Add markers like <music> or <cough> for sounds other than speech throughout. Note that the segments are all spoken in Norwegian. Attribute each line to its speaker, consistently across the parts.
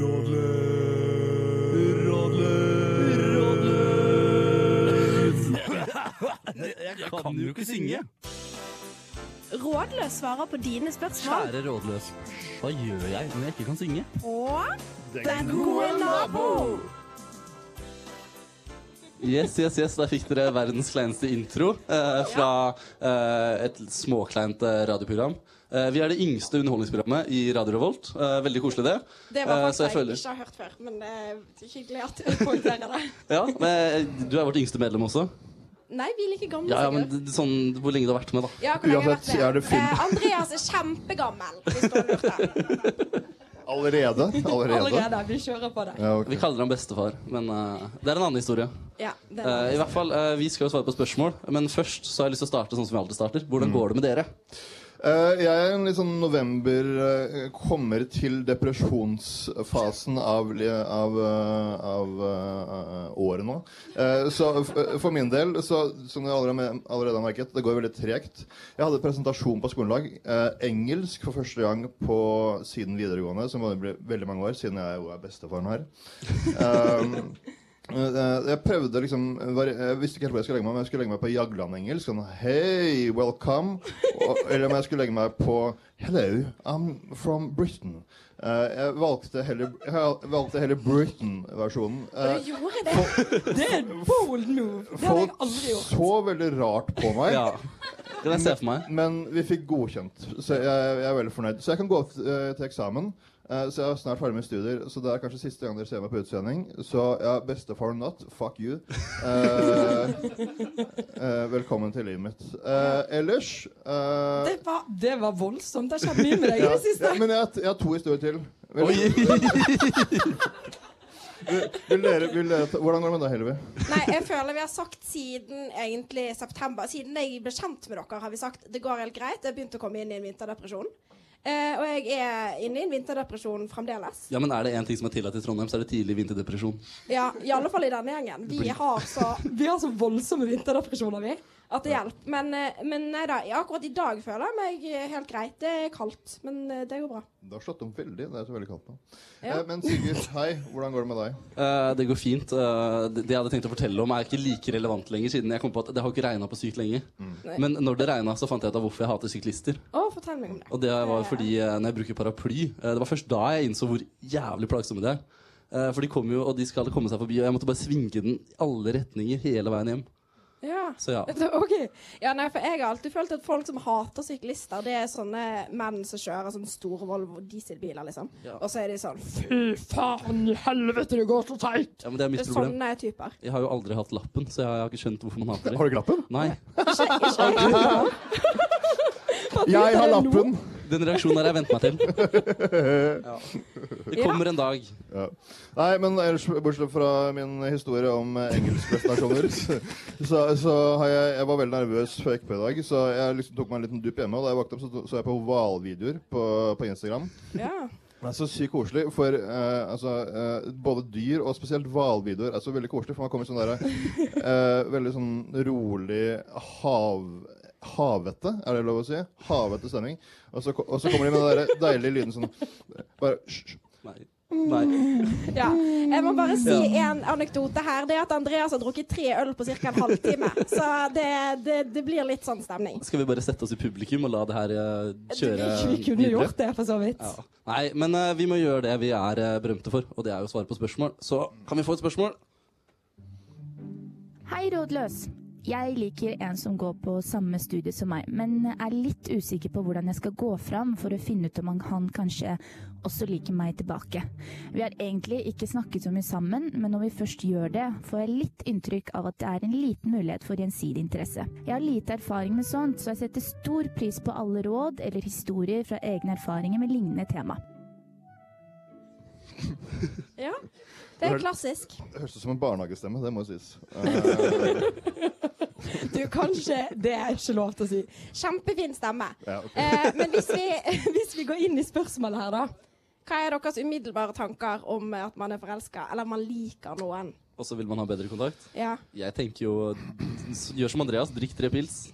Speaker 1: Rådløs.
Speaker 2: Jeg kan jo ikke synge.
Speaker 3: Rådløs svarer på dine spørsmål.
Speaker 2: Kjære rådløs, hva gjør jeg når jeg ikke kan synge?
Speaker 3: Og Den gode nabo!
Speaker 2: Yes, yes, yes, der fikk dere verdens kleineste intro eh, fra eh, et småkleint eh, radioprogram. Eh, vi er det yngste underholdningsprogrammet i Radio Revolt. Eh, veldig koselig, det.
Speaker 4: Det var
Speaker 2: Eh,
Speaker 4: faktisk
Speaker 2: så jeg
Speaker 4: jeg,
Speaker 2: føler-
Speaker 4: ikke har hørt før, men det er hyggelig at du poengterer det.
Speaker 2: Ja, men eh, Du er vårt yngste medlem også.
Speaker 4: Nei, vi er like gamle,
Speaker 2: Ja, ja, men
Speaker 4: sikkert.
Speaker 2: d- sånn, Hvor lenge du har vært med, da.
Speaker 4: Ja, hvor lenge har jeg
Speaker 5: Uansett, er det
Speaker 4: vært
Speaker 5: full-
Speaker 4: med? Eh, Andreas er kjempegammel, hvis du har lurt
Speaker 2: <laughs>
Speaker 4: det.
Speaker 5: Allerede? Allerede?
Speaker 4: Allerede. Vi kjører på det.
Speaker 5: Ja,
Speaker 2: Vi
Speaker 5: ok.
Speaker 2: kaller ham bestefar, men eh, det er en annen historie.
Speaker 4: Ja, det er
Speaker 2: Eh, I hvert fall, eh, Vi skal jo svare på spørsmål, men først så har jeg lyst til å starte sånn som vi alltid starter. Hvordan går det med dere?
Speaker 5: Eh, jeg er en litt sånn november eh, Kommer til depresjonsfasen av, li- av, eh, av eh, året nå. Eh, så f- for min del, så, som dere allerede, har me- allerede har merket, det går veldig tregt. Jeg hadde presentasjon på skolelag. eh, engelsk for første gang på siden videregående, som var ble veldig mange år, siden jeg jo er bestefaren her. Um, Eh, Jeg prøvde liksom var- Jeg visste ikke helt hvor jeg skulle legge meg, men jeg skulle legge meg på Jagland-engelsk. Sånn Hei, welcome. Og, eller om jeg skulle legge meg på Hello, I'm from Britain. Eh, jeg valgte heller, jeg valgte heller Britain-versjonen. Eh,
Speaker 4: Du gjorde det?
Speaker 6: Det er en bold move! Det hadde jeg
Speaker 5: folk
Speaker 6: aldri gjort.
Speaker 5: så veldig rart på
Speaker 2: <laughs>
Speaker 5: meg.
Speaker 2: Ja, Kan jeg se for meg?
Speaker 5: Men vi fikk godkjent, så jeg, jeg er veldig fornøyd. Så jeg kan gå opp eh, til eksamen. Eh, så jeg er snart ferdig med studier, så det er kanskje siste gang dere ser meg på utsending. Så ja, bestefar not, fuck you. Eh, <laughs> eh, velkommen til livet mitt. Eh, ellers eh,
Speaker 6: Det var, det var voldsomt. Det har skjedd mye med deg i
Speaker 5: ja,
Speaker 6: det siste.
Speaker 5: ja, Men jeg, har- jeg har to historier til. Vil, vil dere, vil dere ta, hvordan går det med deg, Helvi?
Speaker 4: Nei, jeg føler vi har sagt siden egentlig september Siden jeg ble kjent med dere, har vi sagt det går helt greit. Jeg begynte å komme inn i en vinterdepresjon. Eh, og jeg er inne i en vinterdepresjon fremdeles.
Speaker 2: Ja, men Er det én ting som er tillatt i Trondheim, så er det tidlig vinterdepresjon.
Speaker 4: Ja, i alle fall i denne gjengen. Vi har så
Speaker 6: <laughs> Vi har så voldsomme vinterdepresjoner, vi.
Speaker 4: at det hjelper. Men, eh, men nei da, ja, akkurat i dag føler jeg meg eh, helt greit. Det er kaldt, men eh, det går bra.
Speaker 5: Det har slått om veldig. Det er så veldig kaldt nå.
Speaker 4: Ja.
Speaker 5: Eh, men Sigurd, hei. Hvordan går det med deg?
Speaker 2: Eh, det går fint. Eh, det det jeg hadde tenkt å fortelle om, er ikke like relevant lenger. siden jeg kom på at Det har ikke regna på sykt lenge.
Speaker 5: Mm.
Speaker 4: Nei.
Speaker 2: Men når det regna, så fant jeg ut av hvorfor jeg hater syklister.
Speaker 4: Å, fortell meg om det.
Speaker 2: Og det var fordi eh, når jeg bruker paraply eh, Det var først da jeg innså hvor jævlig plagsomme det er. Eh, for de kommer jo, og de skal komme seg forbi, og jeg måtte bare svinge den i alle retninger hele veien hjem.
Speaker 4: Ja.
Speaker 2: Så ja.
Speaker 4: Da- OK. Ja, nei, for jeg har alltid følt at folk som hater syklister, det er sånne menn som kjører sånne store Volvo dieselbiler, liksom.
Speaker 2: Ja.
Speaker 4: Og så er de sånn
Speaker 6: Fy faen i helvete, det går så teit!
Speaker 2: ja men det er sånn- mitt problem.
Speaker 4: Sånne typer.
Speaker 2: Jeg har jo aldri hatt lappen, så jeg har ikke skjønt hvorfor man hater det.
Speaker 5: Har du glappen?
Speaker 2: Nei,
Speaker 5: Jeg har
Speaker 6: det nå?
Speaker 5: lappen!
Speaker 2: Den reaksjonen har jeg vent meg til. Ja. Det kommer en dag.
Speaker 5: Ja. Nei, men ellers, bortsett fra min historie om eh, engelskpresentasjoner, så, så, så har jeg, jeg var veldig nervøs før jeg gikk på i dag, så jeg liksom tok meg en liten dupp hjemme. Og da jeg våknet opp, så så jeg på hvalvideoer på, på Instagram.
Speaker 4: Ja.
Speaker 5: Det er så sykt koselig, for eh, altså, eh, både dyr og spesielt hvalvideoer er så veldig koselig, for man kommer i sånn derre eh, veldig sånn rolig hav... Havete, er det lov å si? Havete stemning. Og så, ko- og så kommer de med den der deilige lyden sånn Bare hysj.
Speaker 2: Nei. Nei.
Speaker 4: ja. Jeg må bare si en anekdote her. Det er at Andreas har drukket tre øl på ca. en halvtime. Så det, det, det blir litt sånn stemning.
Speaker 2: Skal vi bare sette oss i publikum og la det her eh, kjøre
Speaker 6: Vi kunne
Speaker 2: videre?
Speaker 6: gjort det, for så vidt.
Speaker 2: Ja. Nei, men eh, vi må gjøre det vi er eh, berømte for, og det er jo å svare på spørsmål. Så kan vi få et spørsmål?
Speaker 7: Hei, rådløs. Jeg liker en som går på samme studie som meg, men er litt usikker på hvordan jeg skal gå fram for å finne ut om han- han kanskje også liker meg tilbake. Vi har egentlig ikke snakket så mye sammen, men når vi først gjør det, får jeg litt inntrykk av at det er en liten mulighet for gjensidig interesse. Jeg har lite erfaring med sånt, så jeg setter stor pris på alle råd eller historier fra egne erfaringer med lignende tema.
Speaker 4: Ja. Det er klassisk.
Speaker 5: Det høres ut som en barnehagestemme, det må sies. Eh,
Speaker 6: Du, kanskje Det er ikke lov til å si.
Speaker 4: Kjempefin stemme.
Speaker 5: ja, ok.
Speaker 4: Eh, men hvis vi, <laughs>
Speaker 6: Hvis vi går inn i spørsmålet her, da.
Speaker 4: hva er deres umiddelbare tanker om at man er forelska, eller man liker noen?
Speaker 2: Og så vil man ha bedre kontakt.
Speaker 4: Ja.
Speaker 2: Jeg tenker jo s- Gjør som Andreas, drikk tre pils.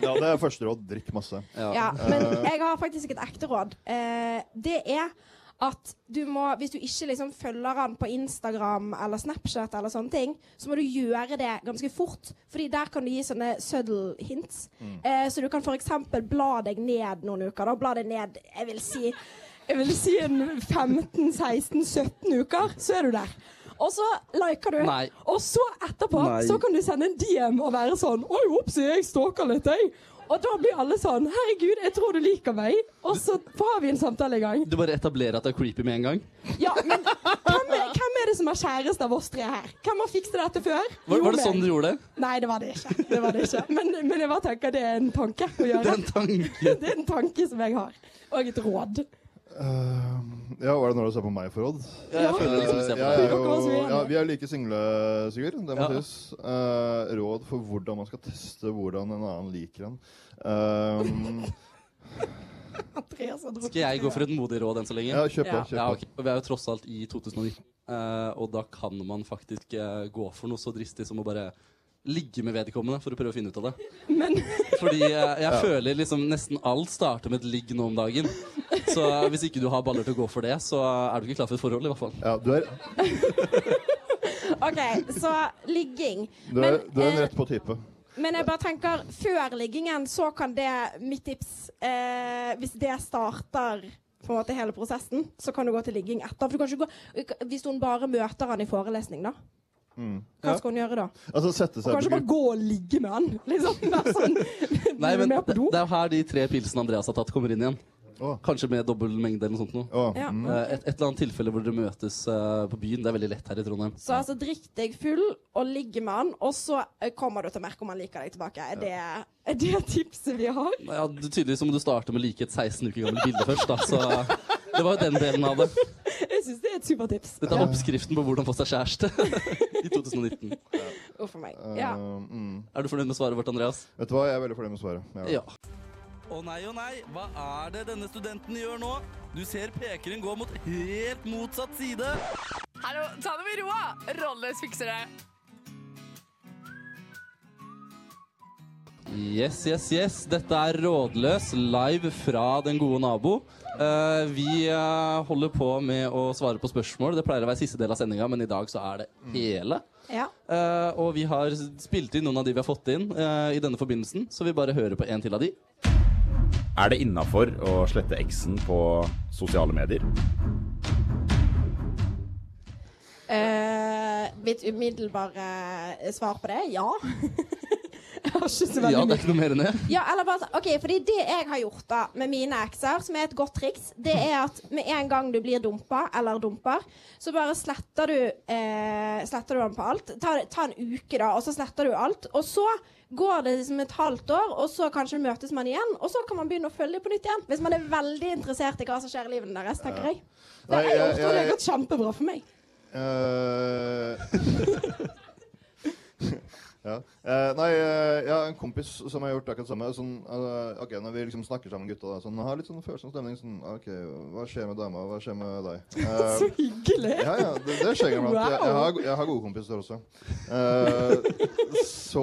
Speaker 5: Ja, det er første råd. Drikk masse.
Speaker 4: Ja, men jeg har faktisk et ekte råd. Eh, det er at du må, hvis du ikke liksom følger han på Instagram eller Snapchat, eller sånne ting, så må du gjøre det ganske fort. Fordi der kan du gi sånne subtle hints. Eh, så du kan f.eks. bla deg ned noen uker. Da. Bla deg ned jeg vil si, jeg vil si en 15-16-17 uker, så er du der. Og så liker du.
Speaker 2: Nei.
Speaker 6: Og så etterpå
Speaker 2: Nei.
Speaker 6: så kan du sende en DM og være sånn Oi, opsi, jeg stalker litt, jeg. Og da blir alle sånn Herregud, jeg tror du liker meg. Og så har vi en samtale i gang.
Speaker 2: Du bare etablerer at det er creepy med en gang?
Speaker 6: Ja, men hvem er, hvem er det som har kjæreste av oss tre her? Hvem har fikset dette før?
Speaker 2: Var,
Speaker 6: Jo,
Speaker 2: var det
Speaker 6: meg.
Speaker 2: sånn dere gjorde det?
Speaker 6: Nei, det var det ikke. Det var det ikke. Men, men jeg bare tenker det er en tanke å
Speaker 2: Det
Speaker 6: gjøre.
Speaker 2: er en tanke.
Speaker 6: <laughs> Det er en tanke som jeg har. Og et råd.
Speaker 5: Eh, ja, hva er det når du ser på meg for råd?
Speaker 2: Ja, jeg føler liksom du ser
Speaker 5: Eh,
Speaker 2: på
Speaker 5: jeg er
Speaker 2: det.
Speaker 6: Dere var så
Speaker 5: jo,
Speaker 6: uenige.
Speaker 5: ja, vi er like single, Sigurd. Det må
Speaker 2: Ja.
Speaker 5: sies. Eh, råd for hvordan man skal teste hvordan en annen liker en. Eh,
Speaker 6: Andreas har drukket
Speaker 2: Skal jeg gå for et modig råd enn så lenge?
Speaker 5: ja, kjøp på.
Speaker 6: Ja.
Speaker 5: Kjøp
Speaker 2: Ja,
Speaker 5: på.
Speaker 2: ok. Og Vi er jo tross alt i 2019, eh, og da kan man faktisk eh, gå for noe så dristig som å bare ligge med vedkommende for å prøve å finne ut av det.
Speaker 6: Men
Speaker 2: <laughs> Fordi eh, jeg føler liksom nesten alt starter med et ligg nå om dagen. Så eh, hvis ikke du har baller til å gå for det, så eh, er du ikke klar for et forhold, i hvert fall.
Speaker 5: Ja, du er,
Speaker 4: OK, så ligging.
Speaker 5: du er,
Speaker 4: Men,
Speaker 5: du er en
Speaker 4: eh,
Speaker 5: rett på type.
Speaker 4: Men jeg bare tenker, før liggingen så kan det Mitt tips eh, Hvis det starter på en måte hele prosessen, så kan du gå til ligging etter. For du kan ikke gå, hvis hun bare møter han i forelesning, da. Hva
Speaker 2: Ja.
Speaker 4: skal hun gjøre da?
Speaker 5: Altså sette
Speaker 6: du
Speaker 5: seg
Speaker 6: kan
Speaker 5: på
Speaker 6: ikke bare gå og ligge med han.
Speaker 4: <laughs>
Speaker 6: Liksom. Vær sånn.
Speaker 2: Nei, men
Speaker 6: med
Speaker 2: det,
Speaker 6: på do?
Speaker 2: det er jo her de tre pilsene Andreas har tatt, kommer inn igjen.
Speaker 5: Å.
Speaker 2: Kanskje med dobbel mengde eller noe sånt noe.
Speaker 5: Å,
Speaker 4: Ja.
Speaker 5: mm.
Speaker 2: Eh, Et, et eller annet tilfelle hvor dere møtes eh, på byen. Det er veldig lett her i Trondheim.
Speaker 4: Så altså, drikk deg full og ligg med han, og så eh, kommer du til å merke om han liker deg tilbake. Er det, er det tipset vi har?
Speaker 2: Ja, du, tydeligvis så må du starte med å like et 16 uker gammelt bilde først, da. Så det var jo den delen av det.
Speaker 6: Jeg syns det er et supertips.
Speaker 2: Dette er oppskriften på hvordan få seg kjæreste <laughs> i 2019.
Speaker 4: Uff a meg.
Speaker 5: Eh,
Speaker 4: Ja.
Speaker 5: mm.
Speaker 2: Er du fornøyd med svaret vårt, Andreas?
Speaker 5: Vet du hva, jeg er veldig fornøyd med svaret.
Speaker 2: Ja. Å nei, å nei, hva er det denne studenten gjør nå? Du ser pekeren gå mot helt motsatt side.
Speaker 1: Hallo, ta det med roa! Rolleløs fikser det.
Speaker 2: Yes, yes, yes. Dette er Rådløs live fra Den gode nabo. Eh, vi eh, holder på med å svare på spørsmål. Det pleier å være siste del av sendinga, men i dag så er det hele.
Speaker 4: ja.
Speaker 2: Eh, og vi har spilt inn noen av de vi har fått inn eh, i denne forbindelsen, så vi bare hører på en til av de.
Speaker 8: Er det innafor å slette eksen på sosiale medier?
Speaker 4: Eh, mitt umiddelbare svar på det ja. <laughs>
Speaker 6: Jeg har ikke så
Speaker 2: Ja, det
Speaker 6: veldig
Speaker 2: er
Speaker 6: mye.
Speaker 2: ikke noe mer enn det.
Speaker 4: Ja, eller bare så- OK, fordi det jeg har gjort da med mine ekser, som er et godt triks, det er at med en gang du blir dumpa, eller dumper, så bare sletter du eh, Sletter du den på alt. Ta, ta en uke, da, og så sletter du alt. Og så går det liksom et halvt år, og så kanskje møtes man igjen, og så kan man begynne å følge dem på nytt igjen. Hvis man er veldig interessert i hva som skjer i livet deres, tenker jeg.
Speaker 5: Nei, jeg,
Speaker 6: Jeg tror det har
Speaker 5: jeg,
Speaker 6: gått kjempebra for meg.
Speaker 5: Eh, <laughs> ja. Eh, nei, eh, jeg har en kompis som har gjort akkurat det samme. Sånn, eh, ok, Når vi liksom snakker sammen, gutta, da, sånn, har litt sånn følsom stemning. Sånn, ok, Hva skjer med dama? Hva skjer med deg? Eh,
Speaker 6: Så hyggelig.
Speaker 5: ja, ja, det, det skjer iblant. Jeg, jeg, har, jeg har gode kompiser også. Eh, så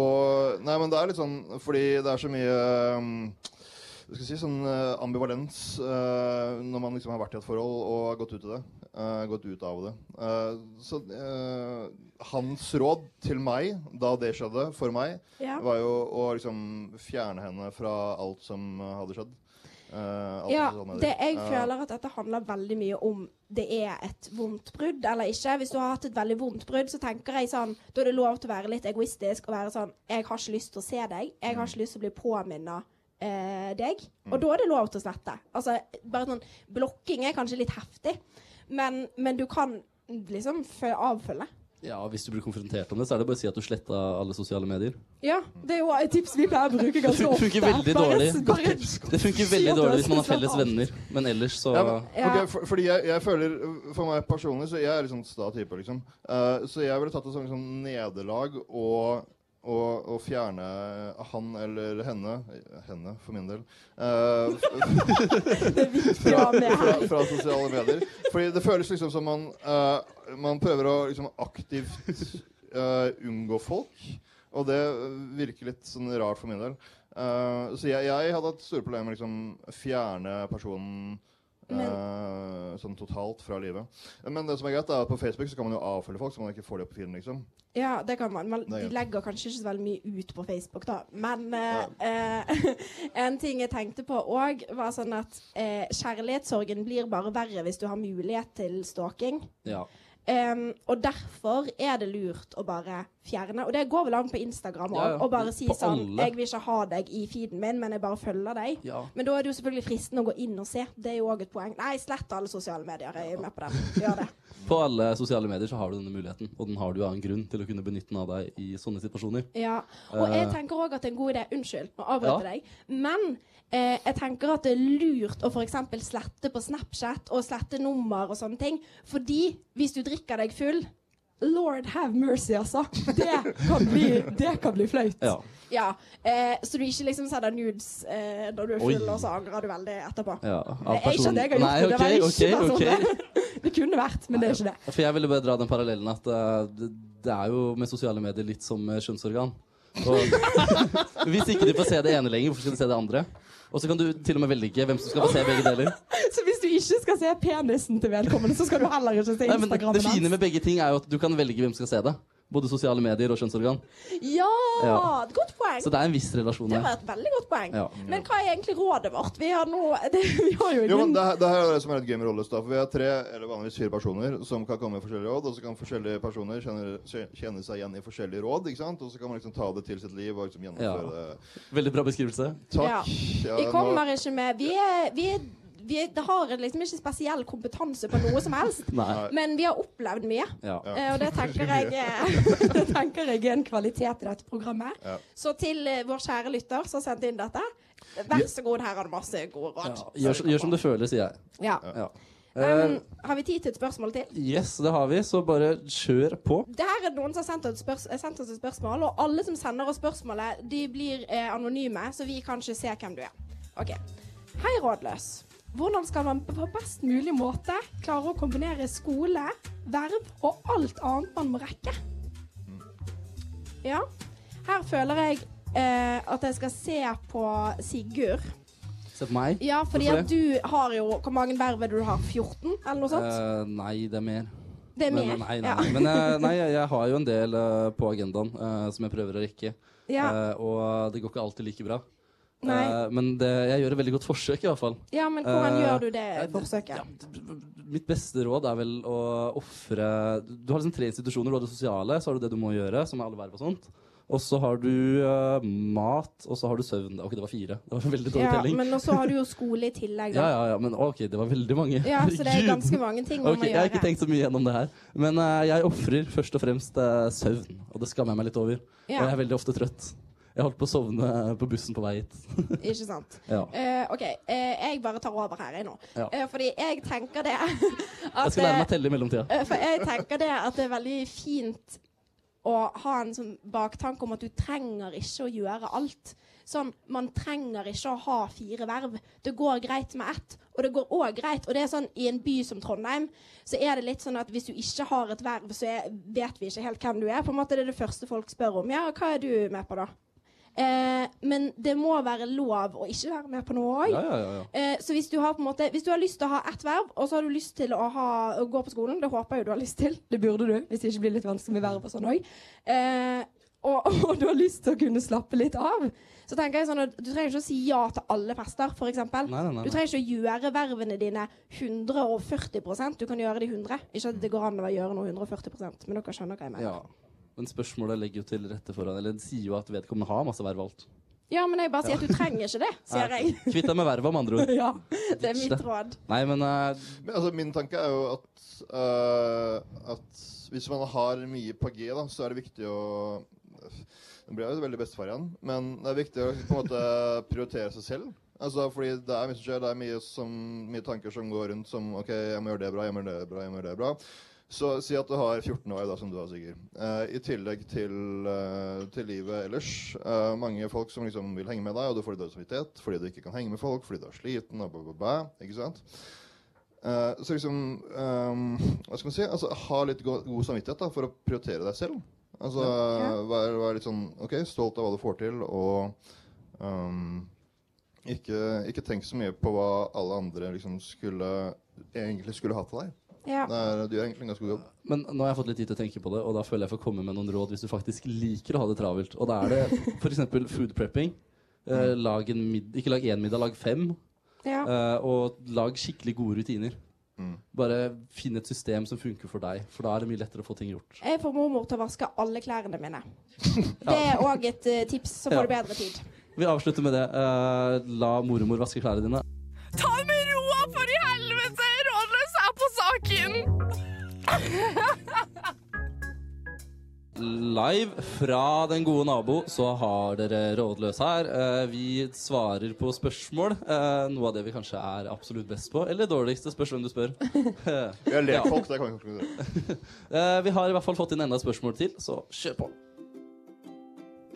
Speaker 5: Nei, men det er litt sånn fordi det er så mye ehm, hva skal jeg si, sånn eh, ambivalens eh, når man liksom har vært i et forhold og har gått ut i det. eh, gått ut av det. Eh, så eh, hans råd til meg da det skjedde for meg,
Speaker 4: Ja.
Speaker 5: var jo å liksom fjerne henne fra alt som eh, hadde skjedd. Eh, alt
Speaker 4: Ja,
Speaker 5: sosiale medier.
Speaker 4: det, jeg
Speaker 5: Eh,
Speaker 4: føler at dette handler veldig mye om det er et vondt brudd eller ikke. Hvis du har hatt et veldig vondt brudd, så tenker jeg sånn Da er det lov til å være litt egoistisk og være sånn Jeg har ikke lyst til å se deg. Jeg har ikke lyst til å bli påminna eh, deg. Og da er det lov til å slette. Altså, bare sånn Blokking er kanskje litt heftig, men, men du kan liksom fø- avfølge.
Speaker 2: Ja, og Hvis du blir konfrontert om det, så er det bare å si at du sletta alle sosiale medier.
Speaker 6: Ja, det er jo et tips vi pleier å bruke ganske
Speaker 2: Det
Speaker 6: ofte.
Speaker 2: funker veldig dårlig.
Speaker 4: sånn,
Speaker 6: Bare,
Speaker 2: Det funker veldig
Speaker 6: at du
Speaker 2: dårlig
Speaker 6: har
Speaker 2: hvis man har
Speaker 6: spist
Speaker 2: felles
Speaker 6: alt.
Speaker 2: venner, men ellers så
Speaker 5: Ja, men,
Speaker 4: Ja.
Speaker 5: ok, for, fordi jeg, jeg føler For meg personlig så jeg er litt sånn sta type, liksom. Eh, så jeg ville tatt det som liksom, nederlag og og, og fjerne han eller henne Henne, for min del. eh,
Speaker 4: sånn,
Speaker 5: fra,
Speaker 6: bare med
Speaker 5: fra, fra sosiale medier. Fordi det føles liksom som man eh, Man prøver å liksom aktivt eh, unngå folk. Og det virker litt sånn rart for min del. Eh, så jeg, jeg hadde hatt store problemer med å liksom, fjerne personen eh, sånn totalt fra livet. Men det som er greit er at på Facebook så kan man jo avfølge folk, så man ikke får det opp i feeden. liksom.
Speaker 4: Ja, det kan man. man
Speaker 5: Det er
Speaker 4: de
Speaker 5: greit.
Speaker 4: legger kanskje ikke så veldig mye ut på Facebook, da. Men eh, eh, <laughs> en ting jeg tenkte på òg, var sånn at eh, kjærlighetssorgen blir bare verre hvis du har mulighet til stalking.
Speaker 2: Ja.
Speaker 4: Em, og derfor er det lurt å bare fjerne. Og det går vel an på Instagram òg.
Speaker 2: Ja, ja.
Speaker 4: Og bare si
Speaker 2: På
Speaker 4: sånn
Speaker 2: alle.
Speaker 4: 'Jeg vil ikke ha deg i feeden min, men jeg bare følger deg'.
Speaker 2: Ja.
Speaker 4: Men da er det jo selvfølgelig fristende å gå inn og se. Det er jo òg et poeng. Nei, slett alle sosiale medier. Jeg er med på den. Gjør det.
Speaker 2: På alle sosiale medier så har du denne muligheten, og den har du av en grunn til å kunne benytte den av deg i sånne situasjoner.
Speaker 4: Ja, og jeg
Speaker 2: Eh.
Speaker 4: tenker òg at det er en god idé Unnskyld, nå avbryter jeg deg. Men eh, jeg tenker at det er lurt å f.eks. slette på Snapchat og slette nummer og sånne ting. Fordi hvis du drikker deg full
Speaker 6: Lord have mercy, altså. Det kan bli, det kan bli flaut.
Speaker 2: Ja.
Speaker 4: <laughs> ja, eh, så du ikke liksom sender nudes eh, når du er full,
Speaker 2: Oi.
Speaker 4: og så angrer du veldig etterpå.
Speaker 2: ja.
Speaker 6: Nei, jeg skjønner, jeg har gjort
Speaker 2: Nei,
Speaker 6: det. Det var
Speaker 2: ok,
Speaker 6: ikke
Speaker 4: altså.
Speaker 2: ok,
Speaker 6: personlig.
Speaker 2: ok.
Speaker 4: <laughs>
Speaker 6: Det kunne vært, men det er ikke det.
Speaker 2: For jeg ville bare dra den parallellen at eh, det, det er jo med sosiale medier litt som eh, kjønnsorgan. Og <laughs> hvis ikke du får se det ene lenger, hvorfor skal du se det andre? Og så kan du til og med velge hvem som skal få se begge deler.
Speaker 6: Så hvis du ikke skal se penisen til vedkommende, så skal du heller ikke se
Speaker 2: Nei, men det,
Speaker 6: Instagrammen
Speaker 2: det fine med begge ting er jo at du kan velge hvem som skal se det. Både sosiale medier og kjønnsorgan.
Speaker 4: Ja!
Speaker 2: Ja.
Speaker 4: et Godt poeng.
Speaker 2: Så det er en viss relasjon
Speaker 4: Det
Speaker 2: her.
Speaker 4: var et veldig godt poeng.
Speaker 2: Ja.
Speaker 4: Men hva er egentlig rådet vårt? Vi har nå <laughs> det, vi har jo
Speaker 5: Jo, men det, her- det her er det som er et gøy med rolles, da, for Vi har tre, eller vanligvis fire personer som kan komme med forskjellige råd. Og så kan forskjellige personer kjenne, kje- kjenne seg igjen i forskjellige råd. ikke sant? Og så kan man liksom ta det til sitt liv og liksom gjennomføre det.
Speaker 2: Veldig bra beskrivelse.
Speaker 4: Ja.
Speaker 5: Takk. Ja,
Speaker 4: Vi
Speaker 5: nå-
Speaker 4: kommer ikke med Vi, er, vi, er, vi er, har liksom ikke spesiell kompetanse på noe som helst.
Speaker 2: Nei.
Speaker 4: Men vi har opplevd mye.
Speaker 2: Ja.
Speaker 4: Eh, Og det tenker jeg eh, <laughs>
Speaker 6: Det tenker jeg er en kvalitet i dette programmet.
Speaker 4: Så til eh, vår kjære lytter som sendte inn dette. Vær så god, her har du masse gode
Speaker 2: Ja.
Speaker 4: råd.
Speaker 2: Gjør, gjør som du føler, sier jeg.
Speaker 4: Ja.
Speaker 2: Ja.
Speaker 4: Um, har vi tid til et spørsmål til?
Speaker 2: Yes, det har vi, så bare kjør på.
Speaker 4: Det her er noen som har sendt oss, spørs eh, sendt oss et spørsmål, og alle som sender oss spørsmålet, de blir eh, anonyme, så vi kan ikke se hvem du er. OK. Hei, rådløs.
Speaker 6: Hvordan skal man på best mulig måte klare å kombinere skole, verv og alt annet man må rekke?
Speaker 4: Ja. Her føler jeg eh, at jeg skal se på Sigurd.
Speaker 2: Se på meg.
Speaker 4: Ja, fordi
Speaker 2: Hvorfor
Speaker 4: at du har jo Hvor mange verv er det du har? 14, eller noe sånt?
Speaker 2: Eh, nei, det er mer.
Speaker 4: det er mer.
Speaker 2: Men, nei, nei,
Speaker 4: Ja.
Speaker 2: nei. men
Speaker 4: <laughs>
Speaker 2: eh, nei, jeg, jeg har jo en del eh, på agendaen eh, som jeg prøver å rekke.
Speaker 4: Ja.
Speaker 2: Eh, og det går ikke alltid like bra. Eh,
Speaker 4: Nei.
Speaker 2: men det, jeg gjør et veldig godt forsøk, i hvert fall.
Speaker 4: ja, men hvordan
Speaker 2: Eh,
Speaker 4: gjør du det
Speaker 2: nei, det-
Speaker 4: forsøket?
Speaker 2: Mitt beste råd er vel å ofre Du har liksom tre institusjoner. Du har det sosiale, så har du det du må gjøre, som er alle verv og sånt. Og så har du eh, mat, og så har du søvn. Ok, det var fire. Det var en veldig dårlig
Speaker 4: Ja,
Speaker 2: telling.
Speaker 4: men også har du jo skole i tillegg,
Speaker 2: <laughs> Ja,
Speaker 4: da.
Speaker 2: ja, ja, men ok, det var veldig mange.
Speaker 4: Ja, så det er
Speaker 2: <laughs> Herregud.
Speaker 4: ganske mange ting man
Speaker 2: Ok,
Speaker 4: må
Speaker 2: Jeg har ikke
Speaker 4: gjøre.
Speaker 2: tenkt så mye gjennom det her. Men eh, jeg ofrer først og fremst eh, søvn, og det skammer jeg meg litt over. Og
Speaker 4: Ja.
Speaker 2: jeg er veldig ofte trøtt. Jeg holdt på å sovne eh, på bussen på vei hit.
Speaker 4: Ikke sant.
Speaker 2: Ja.
Speaker 4: Eh, OK, eh, jeg bare tar over her, jeg nå.
Speaker 2: Ja.
Speaker 4: Eh, fordi jeg tenker det at
Speaker 2: Jeg skal lære
Speaker 4: eh,
Speaker 2: meg å telle i mellomtida.
Speaker 4: Eh, For jeg tenker det at det er veldig fint å ha en sånn baktanke om at du trenger ikke å gjøre alt. Sånn, Man trenger ikke å ha fire verv. Det går greit med ett. Og det går òg greit. Og det er sånn i en by som Trondheim, så er det litt sånn at hvis du ikke har et verv, så er, vet vi ikke helt hvem du er. På en måte Det er det første folk spør om. Ja, hva er du med på, da? Eh, men det må være lov å ikke være med på noe òg.
Speaker 2: Ja, ja, ja, ja.
Speaker 4: Eh, så hvis du har på en måte Hvis du har lyst til å ha ett verv, og så har du lyst til å, ha, å gå på skolen, det håper jeg jo du har lyst til,
Speaker 6: Det burde du, hvis det ikke blir litt vanskelig med verv og sånn òg. Eh, og,
Speaker 4: <laughs>
Speaker 6: og du har lyst til å kunne slappe litt av.
Speaker 4: så tenker jeg sånn at du trenger ikke å si ja til alle fester, f.eks.
Speaker 2: Nei, nei, nei,
Speaker 4: Du trenger ikke å gjøre vervene dine 140 Du kan gjøre de 100 Ikke at det går an å gjøre noe 140 men dere skjønner hva jeg mener.
Speaker 2: Ja. Men spørsmålet legger jo til rette for Eller det sier jo at vedkommende har masse verv og alt.
Speaker 4: Ja, men jeg bare sier at du trenger ikke det, sier
Speaker 2: Nei,
Speaker 4: jeg.
Speaker 2: Eh, Kvitt deg med vervet, med
Speaker 4: <laughs>
Speaker 2: andre ord.
Speaker 6: Ja.
Speaker 4: Det er mitt råd.
Speaker 2: Nei, men eh,
Speaker 5: Men, altså, min tanke er jo at, øh, at hvis man har mye på G, da, så er det viktig å Nå blir jeg jo veldig bestefar igjen, men det er viktig å på en måte prioritere seg selv. Altså, fordi det er mye som skjer, det er mye, som, mye tanker som går rundt som OK, jeg må gjøre det bra, jeg må gjøre det bra, jeg må gjøre det bra. Så si at du har 14 år, da, som du har, Sigurd. Eh, I tillegg til, eh, til livet ellers. Eh, mange folk som liksom vil henge med deg, og du får litt dårlig samvittighet fordi du ikke kan henge med folk, fordi du er sliten, og bla, bla, bla. Ikke sant? Eh, så liksom ehm, Hva skal man si? Altså, ha litt go god samvittighet da, for å prioritere deg selv. Altså, Vær, vær litt sånn OK, stolt av hva du får til, og Um, ikke, ikke tenk så mye på hva alle andre liksom skulle, egentlig skulle ha til deg.
Speaker 4: Ja.
Speaker 5: Det er, du gjør egentlig en ganske god jobb.
Speaker 2: Men nå har jeg fått litt tid til å tenke på det, og da føler jeg får komme med noen råd hvis du faktisk liker å ha det travelt. Og da er det f.eks. food prepping. Eh, lag en mid ikke lag én middag, lag fem.
Speaker 4: Ja.
Speaker 2: Eh, og lag skikkelig gode rutiner.
Speaker 5: Mm.
Speaker 2: Bare finn et system som funker for deg, for da er det mye lettere å få ting gjort.
Speaker 4: Jeg får mormor til å vaske alle klærne
Speaker 2: <laughs>
Speaker 4: mine. Det er òg et eh, tips, så får du bedre tid.
Speaker 2: Vi avslutter med det. Eh, la mormor vaske klærne dine.
Speaker 1: Ta det med roa, for i helvete! Rådløs er på saken!
Speaker 2: <laughs> Live fra Den gode nabo så har dere Rådløs her. Eh, Vi svarer på spørsmål. Eh, Noe av det vi kanskje er absolutt best på, eller dårligst. Det spørs hvem du spør. Eh,
Speaker 5: Jeg ler
Speaker 2: Ja.
Speaker 5: folk, det kan jeg ikke gjøre.
Speaker 2: Eh, Vi har i hvert fall fått inn enda et spørsmål til, så kjør på.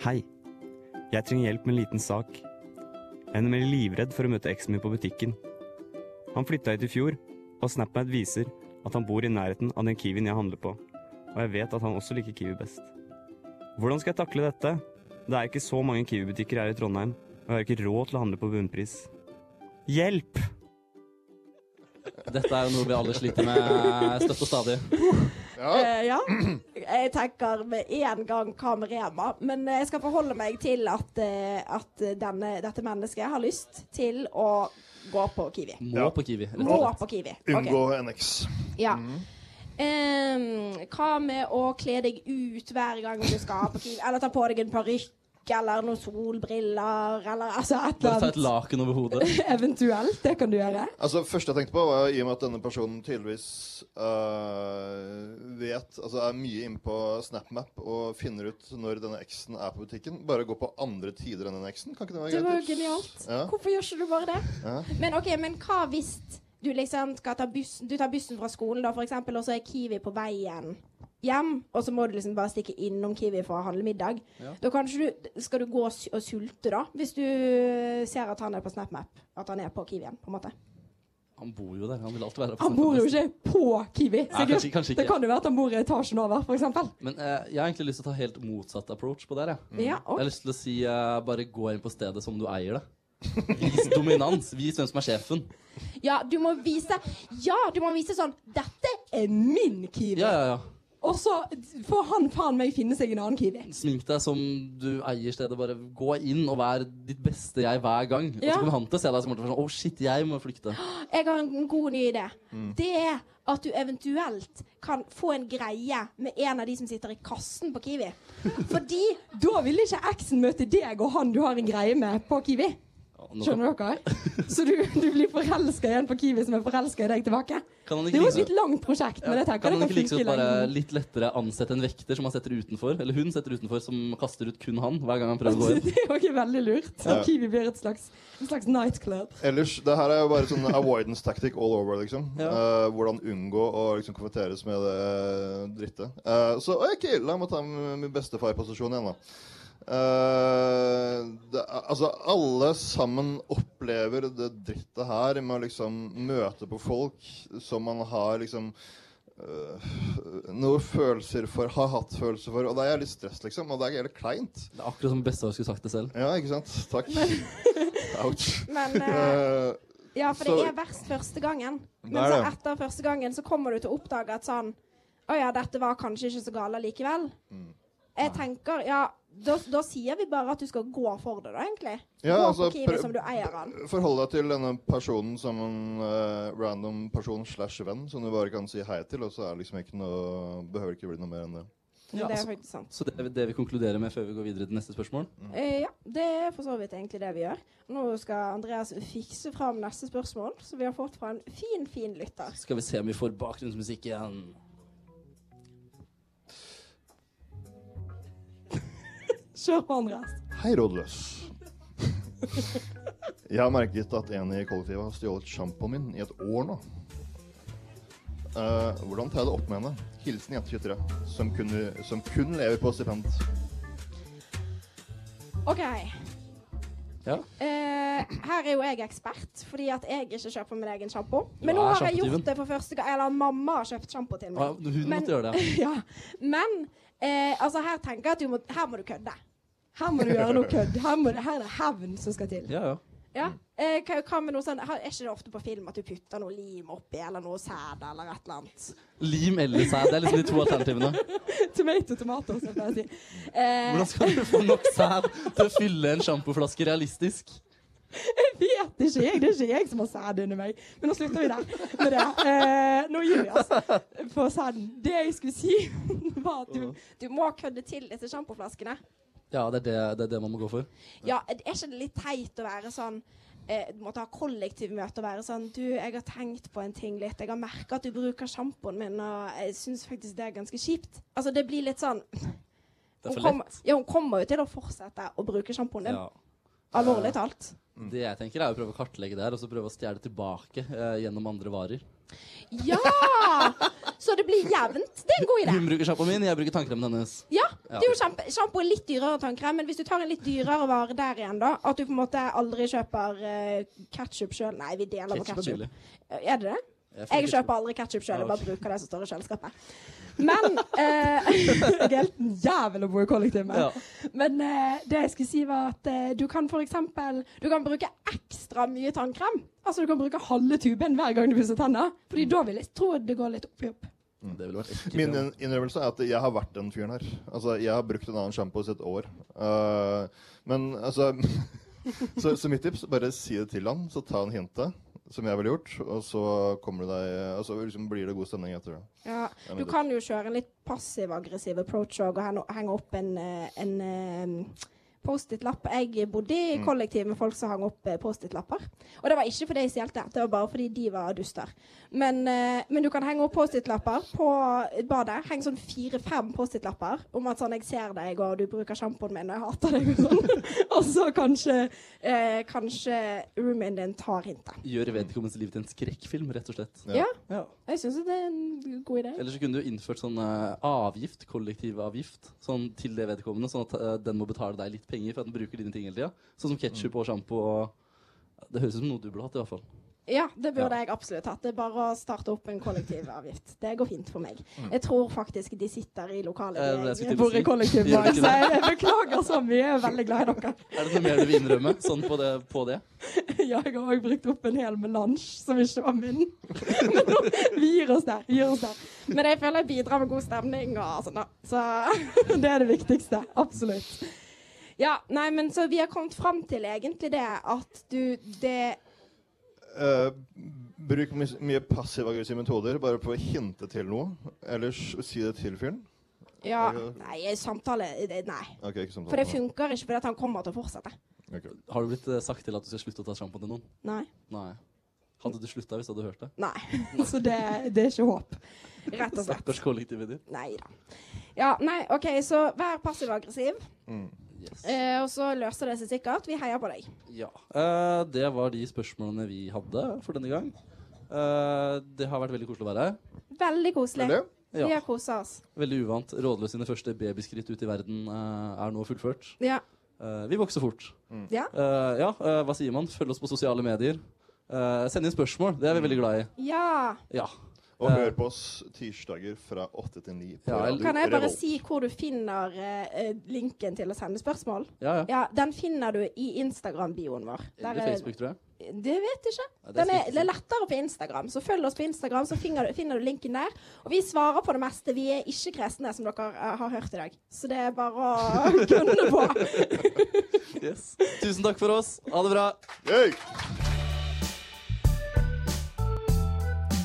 Speaker 9: Hei. Jeg trenger hjelp med en liten sak. Jeg er nemlig livredd for å møte eksen min på butikken. Han flytta hit i fjor, og SnapMad viser at han bor i nærheten av den Kiwien jeg handler på, og jeg vet at han også liker Kiwi best. Hvordan skal jeg takle dette? Det er ikke så mange Kiwi-butikker her i Trondheim, og jeg har ikke råd til å handle på bunnpris. Hjelp!
Speaker 2: Dette er jo noe vi alle sliter med eh, støtt og stadig.
Speaker 5: Ja,
Speaker 4: Eh, ja. <clears throat> Jeg tenker med en gang hva med Rema, men eh, jeg skal forholde meg til at, eh, at denne, dette mennesket har lyst til å gå på Kiwi.
Speaker 2: Må
Speaker 5: Ja.
Speaker 2: på Kiwi. rett og
Speaker 4: Må
Speaker 2: slett.
Speaker 4: på Kiwi. Ok.
Speaker 5: unngå NX.
Speaker 4: Ja. Em, hva med å kle deg ut hver gang du skal på Kiwi? Eller ta på deg en parykk? Eller noen solbriller, eller altså et
Speaker 2: Bare
Speaker 4: eller
Speaker 2: ta et
Speaker 4: annet.
Speaker 2: laken over hodet.
Speaker 6: Eventuelt, det kan du gjøre.
Speaker 5: Altså, første jeg tenkte på var I og med at denne personen tydeligvis øh, vet Altså er mye inne på SnapMap og finner ut når denne X-en er på butikken. Bare gå på andre tider enn denne X-en. Kan ikke det være
Speaker 4: Det
Speaker 5: greit?
Speaker 4: var jo
Speaker 5: tips?
Speaker 4: genialt.
Speaker 5: Ja.
Speaker 4: Hvorfor gjør ikke du bare det?
Speaker 5: Ja.
Speaker 4: Men ok, men hva hvis du liksom skal ta bussen Du tar bussen fra skolen, da, for eksempel, og så er Kiwi på veien hjem, og så må du liksom bare stikke innom Kiwi for å handle middag. Da kan ikke du Skal du gå og su- og sulte, da? Hvis du ser at han er på SnapMap. At han er på Kiwien, på en måte.
Speaker 2: Han bor jo der. Han vil alltid være på
Speaker 6: Han bor jo
Speaker 2: Snapchat.
Speaker 6: ikke på Kiwi.
Speaker 2: Nei,
Speaker 6: sikkert.
Speaker 2: kanskje, kanskje
Speaker 6: Det
Speaker 2: ikke.
Speaker 6: kan jo være at han bor i etasjen over, for eksempel.
Speaker 2: Men eh, jeg har egentlig lyst til å ta helt motsatt approach på det. Jeg.
Speaker 5: Mm.
Speaker 4: Ja,
Speaker 2: Jeg
Speaker 4: og
Speaker 2: har lyst til å si eh, bare gå inn på stedet som du eier det. Vis dominans. Vis hvem som er sjefen.
Speaker 4: ja, du må vise Ja, du må vise sånn Dette
Speaker 6: Er min Kiwi.
Speaker 2: Ja, ja, ja.
Speaker 6: Og så får han faen meg finne seg en annen Kiwi.
Speaker 2: Smink deg som du eier stedet. Bare gå inn og vær ditt beste jeg hver gang. Og
Speaker 4: Ja.
Speaker 2: så kommer han til å se deg som sånn Å, shit, jeg må flykte.
Speaker 4: Jeg har en god ny idé.
Speaker 5: Mm.
Speaker 4: Det er at du eventuelt kan få en greie med en av de som sitter i kassen på Kiwi. Fordi
Speaker 6: Da vil ikke eksen møte deg og han du har en greie med, på Kiwi.
Speaker 2: Ja, nå kan,
Speaker 6: Skjønner dere? Så du, du blir forelska i en på Kiwi som er forelska i deg tilbake.
Speaker 2: kan han
Speaker 6: Det
Speaker 2: ikke
Speaker 6: var
Speaker 2: like
Speaker 6: et litt langt prosjekt, men jeg tenker
Speaker 2: kan
Speaker 6: det
Speaker 2: han
Speaker 6: kan
Speaker 2: ikke like
Speaker 6: funke
Speaker 2: godt
Speaker 6: i
Speaker 2: bare
Speaker 6: lengden.
Speaker 2: litt lettere ansette en vekter som han setter utenfor, eller hun setter utenfor, som kaster ut kun han hver gang han prøver å gå inn?
Speaker 6: <laughs> Det er jo ikke veldig lurt.
Speaker 5: Ja.
Speaker 6: Kiwi blir et slags, en slags nightclub.
Speaker 5: Ellers, det her er jo bare sånn avoidance tactic all over, liksom. Eh, hvordan unngå å liksom konfronteres med det drittet. Eh, så OK, la meg ta min min bestefar-posisjon igjen, da. Eh, det, er- altså, alle sammen opplever det drittet her med å liksom møte på folk som man har liksom eh, noen følelser for, har hatt følelser for. Og det er litt stress, liksom. Og det er jævlig kleint.
Speaker 2: Det er akkurat som bestefar skulle sagt det selv.
Speaker 5: Ja, ikke sant? Takk. Ouch.
Speaker 4: Men
Speaker 5: <laughs>
Speaker 4: eh,
Speaker 5: Eh,
Speaker 4: Ja, for
Speaker 5: så-
Speaker 4: det er verst første gangen. Men
Speaker 5: Det er
Speaker 4: så
Speaker 5: det.
Speaker 4: etter første gangen så kommer du til å oppdage at sånn Å ja, dette var kanskje ikke så gale likevel.
Speaker 5: Mm.
Speaker 4: Jeg tenker Ja, da, da sier vi bare at du skal gå for det, da, egentlig.
Speaker 5: Ja,
Speaker 4: gå
Speaker 5: altså,
Speaker 4: på Kiwi
Speaker 5: prøv-
Speaker 4: som du eier den.
Speaker 5: Forhold deg til denne personen som en eh, random person slash venn som du bare kan si hei til, og så er det liksom ikke noe Behøver ikke bli noe mer enn det.
Speaker 2: Ja,
Speaker 4: det er
Speaker 2: så-
Speaker 4: faktisk sant.
Speaker 2: Så det, er det vi konkluderer med før vi går videre til neste spørsmål
Speaker 4: Eh, ja, det er for så vidt egentlig det vi gjør. Nå skal Andreas fikse fram neste spørsmål, som vi har fått fra en fin, fin lytter.
Speaker 2: Skal vi se om vi får bakgrunnsmusikk igjen.
Speaker 6: Kjør på, Andreas.
Speaker 5: Hei, rådløs. <laughs> Jeg har merket at en i kollektivet har stjålet sjampoen min i et år nå. Eh, hvordan tar jeg det opp med henne? Hilsen jente 23, som kun, som kun lever på stipend.
Speaker 4: OK.
Speaker 2: Ja.
Speaker 4: Eh, her er jo jeg ekspert, fordi at jeg ikke kjøper min egen sjampo. Men
Speaker 2: Du
Speaker 4: nå
Speaker 2: er
Speaker 4: har jeg
Speaker 2: sjampotyven.
Speaker 4: gjort det for første gang. Eller mamma har kjøpt sjampo til
Speaker 2: Ah,
Speaker 4: meg.
Speaker 2: hun
Speaker 4: <laughs> Men-
Speaker 2: måtte gjøre det.
Speaker 4: ja. Men eh, altså, her tenker jeg at du må, her må du kødde.
Speaker 6: Her må du gjøre noe kødd. Her, må, her er det hevn som skal til.
Speaker 2: Ja, ja.
Speaker 4: Ja. Eh, hva, hva med noe sånn, har- Er ikke det ofte på film at du putter noe lim oppi, eller noe sæd, eller et eller annet?
Speaker 2: Lim eller sæd. Det er liksom de to alternativene.
Speaker 6: Tomato, tomato, som jeg pleier å si. Eh,
Speaker 2: Hvordan skal du få nok sæd til å fylle en sjampoflaske realistisk?
Speaker 6: vet ikke jeg. Det er ikke jeg som har sæd under meg. Men nå slutter vi der med det. Eh, nå gir vi oss på sæden. Det jeg skulle si, <laughs> var at du
Speaker 4: Du må kødde til disse sjampoflaskene.
Speaker 2: Ja, det er det, det er det man må gå for.
Speaker 4: Ja, er ikke det litt teit å være sånn eh, Du måtte ha kollektivmøte og være sånn Du, jeg har tenkt på en ting litt. Jeg har merka at du bruker sjampoen min, og jeg syns faktisk det er ganske kjipt. Altså, det blir litt sånn
Speaker 2: Det er
Speaker 4: hun
Speaker 2: for lett.
Speaker 4: kommer, ja, hun kommer jo til å fortsette å bruke sjampoen din.
Speaker 2: Ja.
Speaker 4: Alvorlig talt.
Speaker 2: Det jeg tenker, er å prøve å kartlegge det her, og så prøve å stjele tilbake eh, gjennom andre varer.
Speaker 4: Ja! Så det blir jevnt. Det er en god
Speaker 2: <laughs>
Speaker 4: idé.
Speaker 2: Hun bruker sjampoen min, jeg bruker tannkremen hennes.
Speaker 4: Ja, det er jo kjempe, sjampo er litt dyrere tannkrem, men hvis du tar en litt dyrere vare der igjen, da At du på en måte aldri kjøper uh, ketsjup sjøl Nei, vi deler på
Speaker 2: Ketchup er
Speaker 4: ketsjup.
Speaker 2: billig.
Speaker 4: Er det det?
Speaker 2: Jeg
Speaker 4: Jeg
Speaker 2: får
Speaker 4: kjøper aldri ketsjup sjøl,
Speaker 2: Ja,
Speaker 4: jeg bare
Speaker 2: ok.
Speaker 4: bruker det som står i kjøleskapet. Men eh, <laughs>
Speaker 6: Jeg er helt en jævel å bo i kollektiv med.
Speaker 2: Ja.
Speaker 4: Men eh, det jeg skulle si var at eh, du kan for eksempel Du kan bruke ekstra mye tannkrem.
Speaker 6: Altså, du kan bruke halve tuben hver gang du pusser tenner. Fordi
Speaker 2: Mm.
Speaker 6: da vil jeg tro at det går litt opp i opp.
Speaker 2: Det ville vært ekkelt.
Speaker 5: Min
Speaker 2: ja.
Speaker 5: inn- innrømmelse er at jeg har vært den fyren her. Altså, Jeg har brukt en annen sjampo i et år. Eh, men altså <laughs> så, så mitt tips bare si det til han, så ta en hintet, som jeg ville gjort. Og så kommer du deg Og så liksom blir det god stemning etter det.
Speaker 4: Ja, du kan jo kjøre en litt passiv-aggressiv approach og henge henge opp en, eh, en eh, Post-it-lapp. Jeg bodde i
Speaker 5: Mm.
Speaker 4: kollektiv med folk som hang opp eh, Post-it-lapper. Og det var ikke fordi jeg stjelte, det var bare fordi de var duster. Men, eh, men du kan henge opp Post-it-lapper på badet. Heng sånn fire-fem Post-it-lapper om at sånn 'Jeg ser deg, og du bruker sjampoen min, og jeg hater deg', og sånn. <laughs> og så kanskje, eh, kanskje roomien din tar hintet.
Speaker 2: Gjør vedkommendes liv til en skrekkfilm, rett og slett.
Speaker 5: Ja.
Speaker 2: Ja.
Speaker 4: Jeg syns det er en god idé.
Speaker 2: Eller så kunne du innført sånn eh, avgift, kollektivavgift, sånn til det vedkommende, sånn at eh, den må betale deg litt penger for at den bruker dine ting hele tida. Sånn som ketsjup og sjampo og Det høres ut som noe du burde hatt, i hvert fall.
Speaker 4: Ja, det burde
Speaker 2: Ja.
Speaker 4: jeg absolutt hatt. Det er bare å starte opp en kollektivavgift. Det går fint for meg. Jeg tror faktisk de sitter i lokalet.
Speaker 2: Mm. Eh, det
Speaker 4: de-
Speaker 2: skulle til å
Speaker 6: Bor
Speaker 2: si.
Speaker 6: i kollektiv
Speaker 2: Gjør
Speaker 6: med.
Speaker 2: ikke
Speaker 6: Så
Speaker 2: det.
Speaker 6: jeg beklager så mye. Jeg er veldig glad i dere.
Speaker 2: Er det noe mer du vil innrømme sånn på det? På det?
Speaker 6: Ja, jeg har òg brukt opp en hel melange som ikke var min.
Speaker 4: <laughs>
Speaker 6: Men nå, vi gir oss der. Gir oss der.
Speaker 4: Men jeg føler jeg bidrar med god stemning og sånn, da. Så
Speaker 6: <laughs> Det er det viktigste. Absolutt.
Speaker 4: ja, nei, men så vi har kommet fram til egentlig det at du Det
Speaker 5: Eh, bruk mye, mye passiv-aggressive metoder, bare for å hinte til noe. Ellers si det til fyren.
Speaker 4: Ja. Nei, samtale det- Nei.
Speaker 5: Ok, ikke samtale.
Speaker 4: For det funker ikke fordi at han kommer til å fortsette.
Speaker 5: Ok.
Speaker 2: Har du blitt eh, sagt til at du skal slutte å ta sjampo til noen?
Speaker 4: Nei.
Speaker 2: Nei. Hadde du slutta hvis du hadde hørt det?
Speaker 4: Nei.
Speaker 6: <laughs> Så det, det er ikke håp.
Speaker 4: Rett og slett.
Speaker 2: Stakkars kollektivet ditt.
Speaker 4: Nei da. Ja, nei, OK, så vær passiv-aggressiv,
Speaker 2: Yes.
Speaker 4: eh, og så løser det seg sikkert. Vi heier på deg.
Speaker 2: Ja. eh, det var de spørsmålene vi hadde for denne gang. Eh, det har vært veldig koselig å være her.
Speaker 4: Veldig
Speaker 5: Er
Speaker 4: koselig.
Speaker 5: det?
Speaker 4: Vi
Speaker 2: Ja,
Speaker 4: har kosa oss.
Speaker 2: Veldig uvant. Rådløs sine første babyskritt ut i verden eh, er nå fullført.
Speaker 4: Ja.
Speaker 2: Eh, vi vokser fort.
Speaker 4: Ja.
Speaker 2: Eh, ja, eh, hva sier man? Følg oss på sosiale medier. Eh, send inn spørsmål. Det er vi veldig glad i.
Speaker 4: Ja.
Speaker 2: Ja.
Speaker 5: Og
Speaker 2: Eh.
Speaker 5: hør på oss tirsdager fra åtte til ni. på
Speaker 2: Ja, eller-
Speaker 5: Radio
Speaker 4: Kan jeg bare
Speaker 5: Revolt.
Speaker 4: si hvor du finner eh, eh, linken til å sende spørsmål?
Speaker 2: ja, ja.
Speaker 4: Ja, Den finner du i Instagram-bioen vår. Der
Speaker 2: Eller
Speaker 4: er-
Speaker 2: Eh, Facebook, tror jeg.
Speaker 4: Det vet jeg ikke.
Speaker 2: Nei, det er
Speaker 4: Den er,
Speaker 2: slik-
Speaker 4: det er lettere på Instagram, så følg oss på Instagram, så finner du, finner du linken der. Og vi svarer på det meste. Vi er ikke kresne, som dere eh, har hørt i dag. Så det er bare å <laughs> gunne på.
Speaker 2: Yes. Tusen takk for oss. Ha det bra.
Speaker 5: Hey!